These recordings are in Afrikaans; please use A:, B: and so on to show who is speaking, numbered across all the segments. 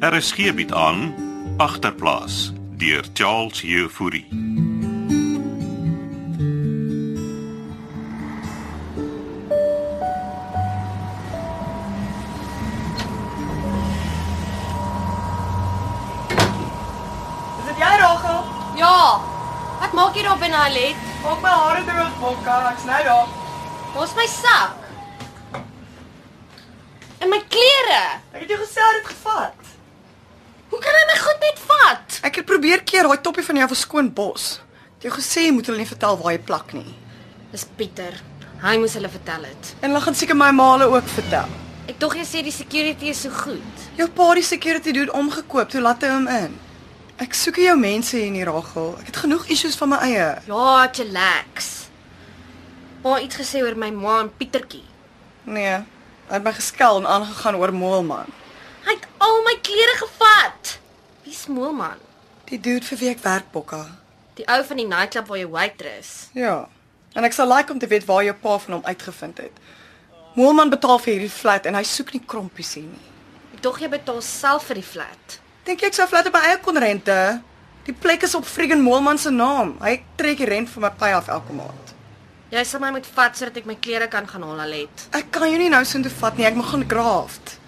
A: RSG bied Er aan agterplaas deur Charles Jefouri.
B: Is dit jy Rachel?
C: Ja. Wat maak jy daar binne Alet?
B: Maak my hare droog, Bokka. Ek's nou daar.
C: Waar's my sak? En my klere.
B: Ek het jou gesê dit gevat.
C: Hoe kan hy my goed net vat?
B: Ek het probeer keer daai toppie van jou vir skoon bos. Het jou gesê jy moet hulle nie vertel waar jy plak nie.
C: Dis Pieter. Hy moes hulle vertel het.
B: En hulle gaan seker my maale ook vertel.
C: Ek dog jy sê die security is so goed.
B: Jou pa die security dude omgekoop, toe laat hy hom in. Ek soek jou mense hier in die Rachel. Ek het genoeg issues van my eie.
C: Ja, chillax. Pa het iets gesê oor my ma en Pietertjie.
B: Nee. Hy het my geskel en aangegaan oor Moelman.
C: Hy het al my klere gevat. Wie smoel man?
B: Die dude vir wie ek werk, Bokka.
C: Die ou van die nightclub waar jy waitress.
B: Ja. En ek sal like om te weet waar jou pa van hom uitgevind het. Moelman betaal vir hierdie flat en hy soek nie krompies hier nie.
C: Ek dog jy betaal self vir die flat.
B: Dink jy ek sou flat op my eie kon rente? Die plek is op Friggin Moelman se naam. Hy trek die rent vir my pay af elke maand.
C: Jy sal my moet vat sodat ek my klere kan gaan haal, Alet.
B: Ek kan jou nie nou soontoe vat nie. Ek moet gaan graft.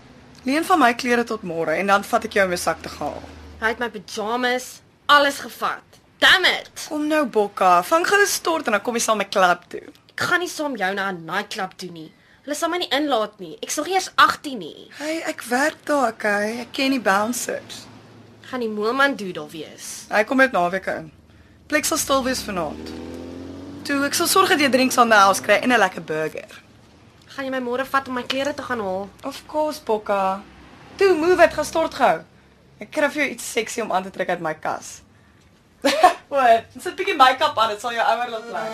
B: Leen van my klere tot môre en dan vat ek jou in my sak te gaan. haal.
C: Hy het my pyjamas, alles gevat. Damn it.
B: Kom nou Bokka, vang gou 'n stort en dan kom jy saam my klub toe.
C: Ek gaan nie saam jou na 'n nightclub toe nie. Hulle sal my nie inlaat nie. Ek's nog eers 18 nie.
B: Hey, ek werk daar, okay? Ek ken die bouncers.
C: Ek gaan die moelman dude daar wees.
B: Hy kom met naweke in. Plek sal stil wees vanaand. Toe ek sal sorg dat jy drinks aan die huis kry en 'n lekker burger.
C: Gaan jy my môre vat om my klere te gaan haal?
B: Of course, Bokka. Toe, move dit gestort gehou. Ek kry vir jou iets sexy om aan te trek uit my kas. Wat? Sit 'n bietjie make-up aan, dit sal jou ouer laat lyk.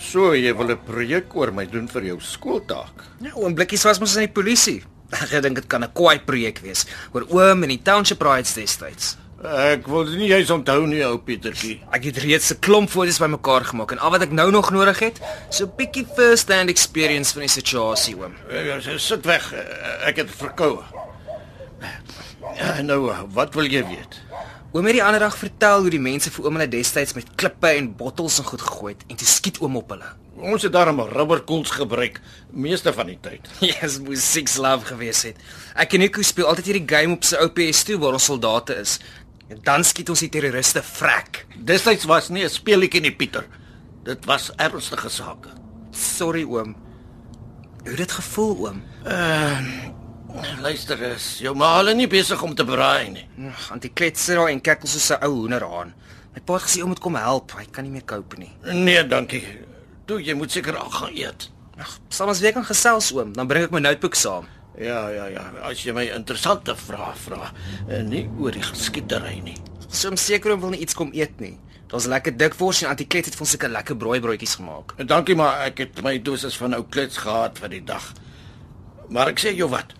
D: So, jy wil 'n projek oor my doen vir jou skooltaak.
E: Ja, oomblikkies was mos in die polisie. Ek dink dit kan 'n kwaai projek wees oor oom en die township rides destyds.
D: Ek wil nie jy's onthou nie, ou Pietertjie.
E: Ek het reeds 'n klomp foto's bymekaar gemaak en al wat ek nou nog nodig het, so 'n bietjie first-hand experience van die situasie oom.
D: Eh, s- Sit weg. eh, Ek het verkoue. Eh, Nou, wat wil jy weet?
E: Oom het die ander dag vertel hoe die mense vir oom hulle destyds met klippe en bottels en goed gegooi het en toe skiet oom op hulle.
D: Ons het daarom rubberkoels gebruik meeste van die tyd.
E: Yes, moes six love gewees het. Ek en Nico speel altyd hierdie game op sy ou PS2 waar ons soldate is. En dan skiet ons die terroriste vrek.
D: Destyds was nie 'n speelietjie nie, Pieter. Dit was ernstige sake.
E: Sorry oom. Hoe het dit gevoel oom?
D: Luister eens, jou ma hulle nie besig om te braai nie.
E: Ag, antikletser daar en kerkel soos 'n ou hoenderhaan. My pa het gesê ou moet kom help, hy kan nie meer cope nie.
D: Nee, dankie. Toe jy moet seker al gaan eet.
E: Ag, sal ons weer kan gesels oom, dan bring ek my notebook saam.
D: Ja, ja, ja. As jy my interessante vrae vra, en nie oor die geskiedery nie.
E: So om seker oom wil nie iets kom eet nie. Daar's lekker dik wors en antiklet het vir ons sulke lekker braaibroodjies gemaak.
D: En Dankie maar ek het my dosis van ou klits gehad vir die dag. Maar ek sê jou wat.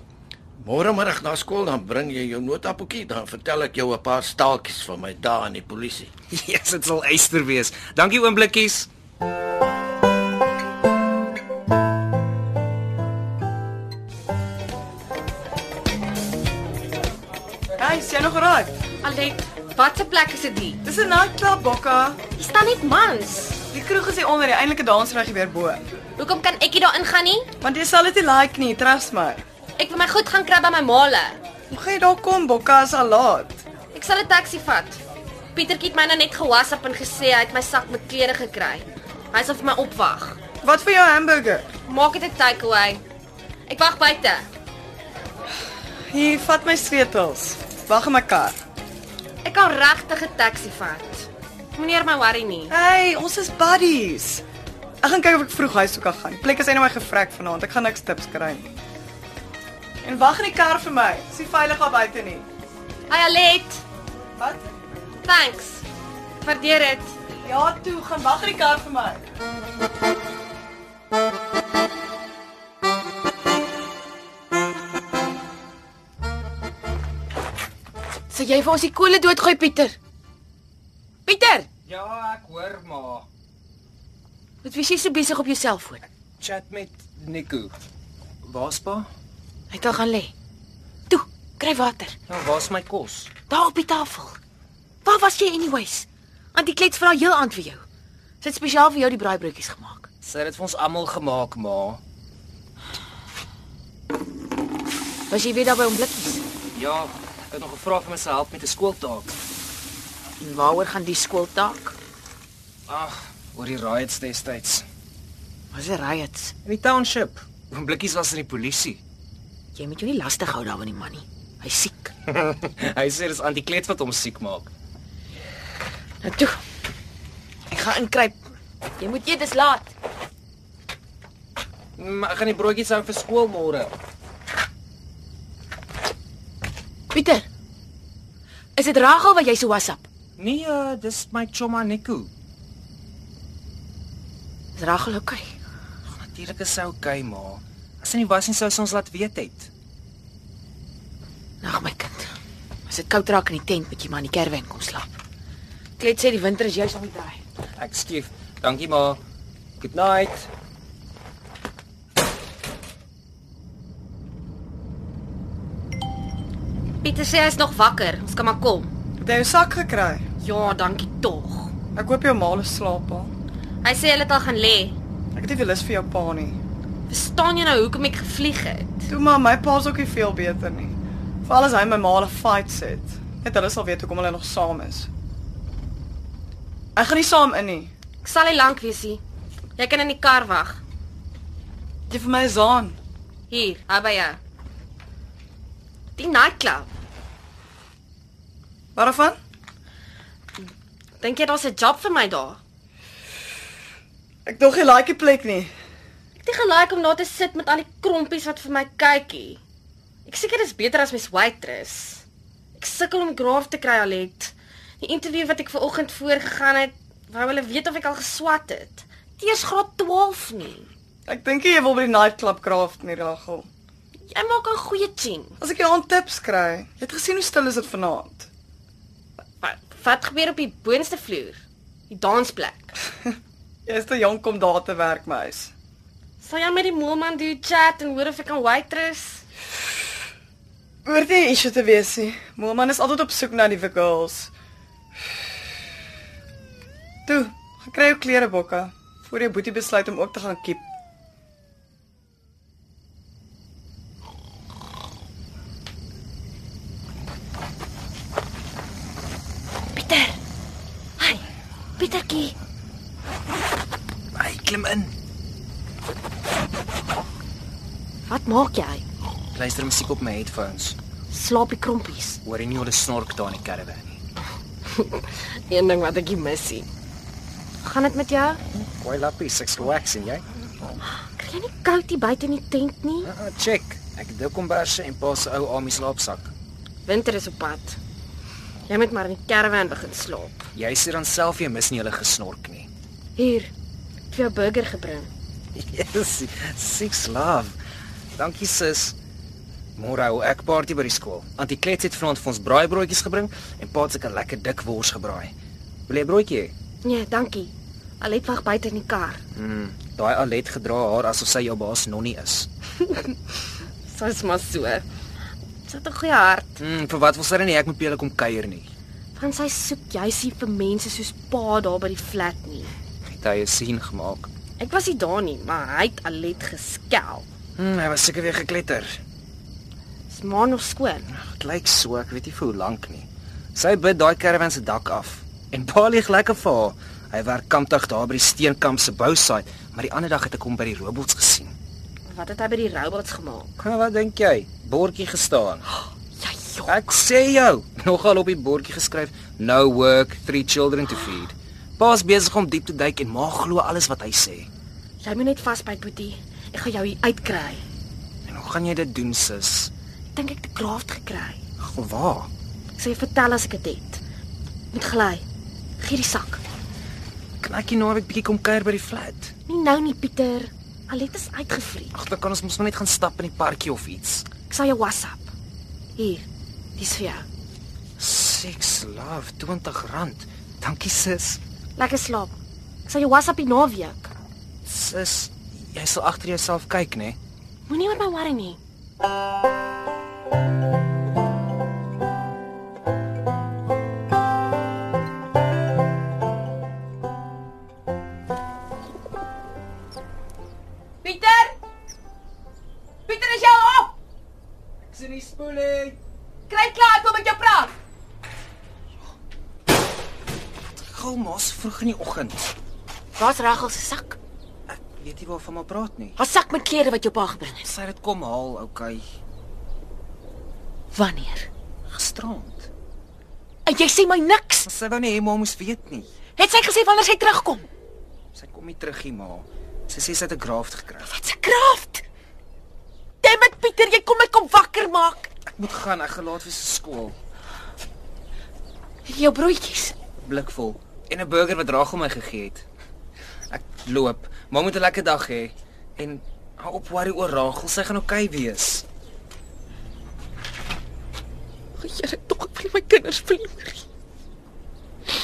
D: Môre middag na skool dan bring jy jou notappeltjie dan vertel ek jou 'n paar staaltjies van my dae in die polisie.
E: Jesus, dit sal eyster wees. Dankie oom Blikkies.
B: Hey, is jy nog reg?
C: Alet, watse plek is dit die?
B: Dis 'n nightclub, Bokka.
C: Hier staan net mans.
B: Die kroeg is hier onder, die eintlike dansreg hier weer bo.
C: Hoekom kan ek nie daarin gaan nie?
B: Want jy sal dit nie like nie, trust my.
C: Ek wil my goed gaan kry by my maale.
B: Hoe gaan jy daar kom, Bokka, as al laat?
C: Ek sal 'n taxi vat. Pietertjie het my nou net gewasap en gesê hy het my sak met klere gekry. Hy sal vir my opwag.
B: Wat vir jou hamburger?
C: Maak dit 'n takeaway. Ek wag buite.
B: Hier, vat my sleutels. Wag in my kar.
C: Ek kan regtig 'n taxi vat. Meneer my worry nie.
B: Hey, ons is buddies. Ek gaan kyk of ek vroeg huis toe kan gaan. Die plek is eintlik my gevrek vanaand. Ek gaan niks tips kry nie. En wag in die kar vir my. Dis nie veilig daar buite nie.
C: Hey Alet,
B: Wat?
C: thanks. Ek Waardeer dit.
B: Ja, toe, gaan wag in die kar vir my.
C: Sal jy vir ons die kolle doodgooi, Pieter? Pieter,
E: Ja, ek hoor maar.
C: wat was jy so besig op jou selfoon?
E: Chat met Nico. Waar's pa?
C: Hy het al gaan lê. Toe, kry water.
E: Nou, waar's my kos?
C: Daar op die tafel. Waar was jy anyways? Antie Klets vra heel aand vir jou. Sy het spesiaal vir jou die braaibroodjies gemaak.
E: Sy het dit vir ons almal gemaak, ma.
C: Was jy weer daar by hom blikkies?
E: Ja, ek het nog gevra vir my se help met 'n skooltaak.
C: En waaroor gaan die skooltaak?
E: Ag, oor die riots destyds.
C: Was 'n riots.
E: In die township. Oom Blikkies was in die polisie.
C: Jy moet jou nie lastig hou daarvan die man nie. Hy's siek.
E: Hy sê dis antiklets wat hom siek maak.
C: Nou toe. Ek gaan inkruip. Jy moet eet, dis laat.
E: Maar ek gaan die broodjies hou vir skool môre.
C: Pieter. Is dit Ragel wat jy so WhatsApp?
E: Nee, uh, dis my choma Nico.
C: Is Ragel okay?
E: Natuurlik is sy okay, ma. As sy nie was nie sou sy ons laat weet het.
C: Nag my kind. As dit koud raak in die tent, moet jy maar in die kerwen kom slaap. Klet sê die winter is juis om die draai.
E: Ek skief. Dankie, ma. Good night.
C: Pieter sê hy's nog wakker. Ons kan maar kom.
B: Het jy jou sak gekry?
C: Ja, dankie tog.
B: Ek hoop jou ma lê slaap al.
C: Hy sê hulle het al gaan lê.
B: Ek het nie veel lus vir jou pa nie.
C: Verstaan jy nou hoekom ek gevlieg het?
B: Toe maar my pa's ook nie veel beter nie. Veral as hy my ma 'n fight sit. Net hulle sal weet hoekom hulle nog saam is. Ek gaan nie saam in nie.
C: Ek sal nie lank wees nie. Jy kan in die kar wag.
B: Jy vir my son.
C: Hier, hou by jou. Die nightclub.
B: Waarvan?
C: Dink jy daar's 'n job vir my daar?
B: Ek dog jy like die plek nie.
C: Ek het nie gelaik om daar te sit met al die krompies wat vir my kykie. Ek seker dis beter as mens waitress. Ek sukkel om graaf te kry alet. Die interview wat ek ver oggend voorgegaan het, wou hulle weet of ek al geswat het. Teers graad 12 nie.
B: Ek dink nie jy wil by die nightclub craft nie, Ragel.
C: Jy maak 'n goeie ching.
B: As ek jou aan tips kry. Jy het gesien hoe stil is dit vanaand.
C: Wat, wat gebeur op die boonste vloer? Die dansplek.
B: Jy is te jonk om daar te werk, meis.
C: Sal jy met die moelman doen chat en hoor of ek kan waitress?
B: Oor dit is dit te wees. nie. Moelman is altyd op soek na nuwe girls. Toe, gaan kry jou klere bokke voor jou boetie besluit om ook te gaan kiep.
C: Pieter. Hi. Pietertjie.
E: Hy klim in.
C: Wat maak jy?
E: Luister musiek op my headphones.
C: Slaap die krompies.
E: Hoor jy nie hulle snork daar in die caravan nie?
C: Een ding wat ek nie mis nie. Gaan dit met jou?
E: Kwai lappies, ek's wax en jy?
C: Kry jy nie koud hier buite in die tent nie?
E: Uh, uh, check. Ek het 'n ou komberse en pa se ou Ami slaapsak.
C: Winter is op pad. Jy moet maar in die karavaan begin slaap.
E: Jy sê dan self jy mis nie hulle gesnork nie.
C: Hier. Ek het vir jou burger gebring.
E: Yes, six love. Dankie sis. Môre hou ek party by die skool. Antie Klets het vanaand vir ons braaibroodjies gebring en pa het seker lekker dik wors gebraai. Wil jy 'n broodjie hê?
C: Nee, dankie. Alet wag buite in die kar.
E: Mm, daai Alet gedra haar asof sy jou baas nonnie is.
C: Soos maar so. Sy het 'n goeie hart.
E: Mm, vir wat wil sy dan nie ek moet by julle kom kuier nie.
C: Want sy soek juis nie vir mense soos pa daar by die flat nie.
E: Het hy 'n sien gemaak.
C: Ek was nie daar nie, maar hy het Alet geskel.
E: Mm, hy was seker weer gekletter.
C: Dis maar nog skoon.
E: Dit lyk so, ek weet nie vir hoe lank nie. Sy bid daai karavan se dak af. En Palie lekker vir haar. Hy werk kampdag daar by die Steenkamp se bousite, maar die ander dag het ek hom by die robots gesien.
C: Wat het hy by die robots gemaak?
E: Kom, wat dink jy? Bordjie gestaan.
C: Ja, joh.
E: Ek sê jou, nogal op die bordjie geskryf, no work, three children to feed. Pa's besig om diep te duik en ma glo alles wat hy sê.
C: Jy moet net vasbyt, Boetie. Ek gaan jou hier uitkry.
E: En hoe gaan jy dit doen, sis?
C: Ek dink ek het 'n kraft gekry.
E: Ag, waar?
C: Ek sal jou vertel as ek dit het, het. Moet gly. Gee die sak.
E: Kan ek hier naweek bietjie kom kuier by die flat?
C: Nie nou nie, Pieter. Alet is uitgevries.
E: Ag, dan kan ons mos maar net gaan stap in die parkie of iets.
C: Ek sal jou WhatsApp. Hier. Dis vir jou.
E: Six love R20. Dankie sis.
F: Lekker slaap. Ek sal jou WhatsApp die naweek.
E: Sis, jy sal agter jouself kyk, né?
F: Moenie oor my worry nie.
G: Pieter! Pieter is jou op.
B: Dis in die spoeling.
G: Kry klaar, ek wil met jou praat.
E: Gou mos vroeg in die oggend.
F: Waar's Rachel se sak?
E: Ek weet nie waarvan maar praat nie.
F: Haar sak met klere wat jou pa gebring het.
E: Sy het dit kom haal, okay.
F: Wanneer?
E: Gisterand.
F: En jy sê my niks.
E: Sy wou nie hê ma moes weet nie.
F: Het sy gesê wanneer sy terugkom?
E: Sy kom nie terug hier, ma. Sy sê sy het 'n graft gekry.
F: Wat 'n kraft. Dammit Pieter, jy kom my kom wakker maak.
E: Ek moet gaan, ek gelaat vir skool.
F: Jou broodjies.
E: Blikvol en 'n burger wat Ragel my gegee het. Ek loop. Ma moet 'n lekker dag hê en hou op worry oor Ragel, sy gaan oukei okay wees.
F: O, Here, tog ek wil nie my kinders verloor nie.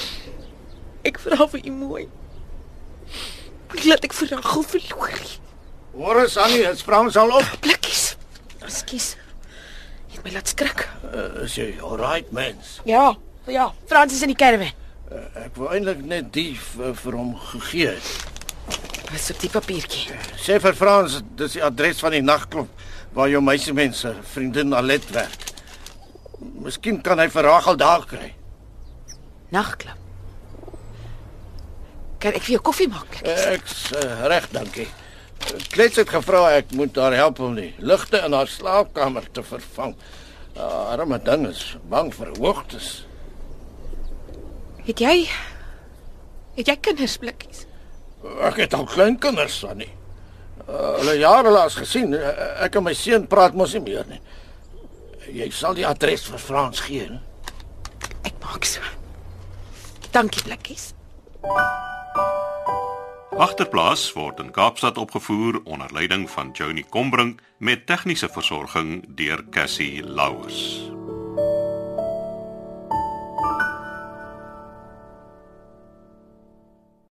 F: Ek vra vir u mooi. Moenie laat ek vir Rachel verloor nie.
D: Hoor eens Annie, dit sprang al op.
F: Blikkies. Ekskuus. Jy het my laat skrik.
D: Uh, is jy alright mens?
F: Ja, ja, Frans is in die caravan.
D: Uh, ek wou eintlik net die vir, vir hom gegee het.
F: Wat soort die papiertjie?
D: Sê vir Frans, dis die adres van die nagklub waar jou meisiemense vriendin Alet werk. Miskien kan hy vir Ragel daar kry.
F: Nagklap. Kan ek vir jou koffie maak?
D: Ek's uh, reg, dankie. Klets het gevra ek moet haar help om die ligte in haar slaapkamer te vervang. Uh, arme ding is bang vir hoogtes.
F: Het jy Het jy kindersblikkies?
D: Ek het al kleinkinders aan nie. Uh, hulle jare laas gesien. Uh, Ek en my seun praat mos nie meer nie. Jy sal die adres vir Frans gee. nie?
F: Ek maak so. Dankie blikkies.
A: Agterplaas word in Kaapstad opgevoer onder leiding van Johnny Combrink met tegniese versorging deur Cassie Louws.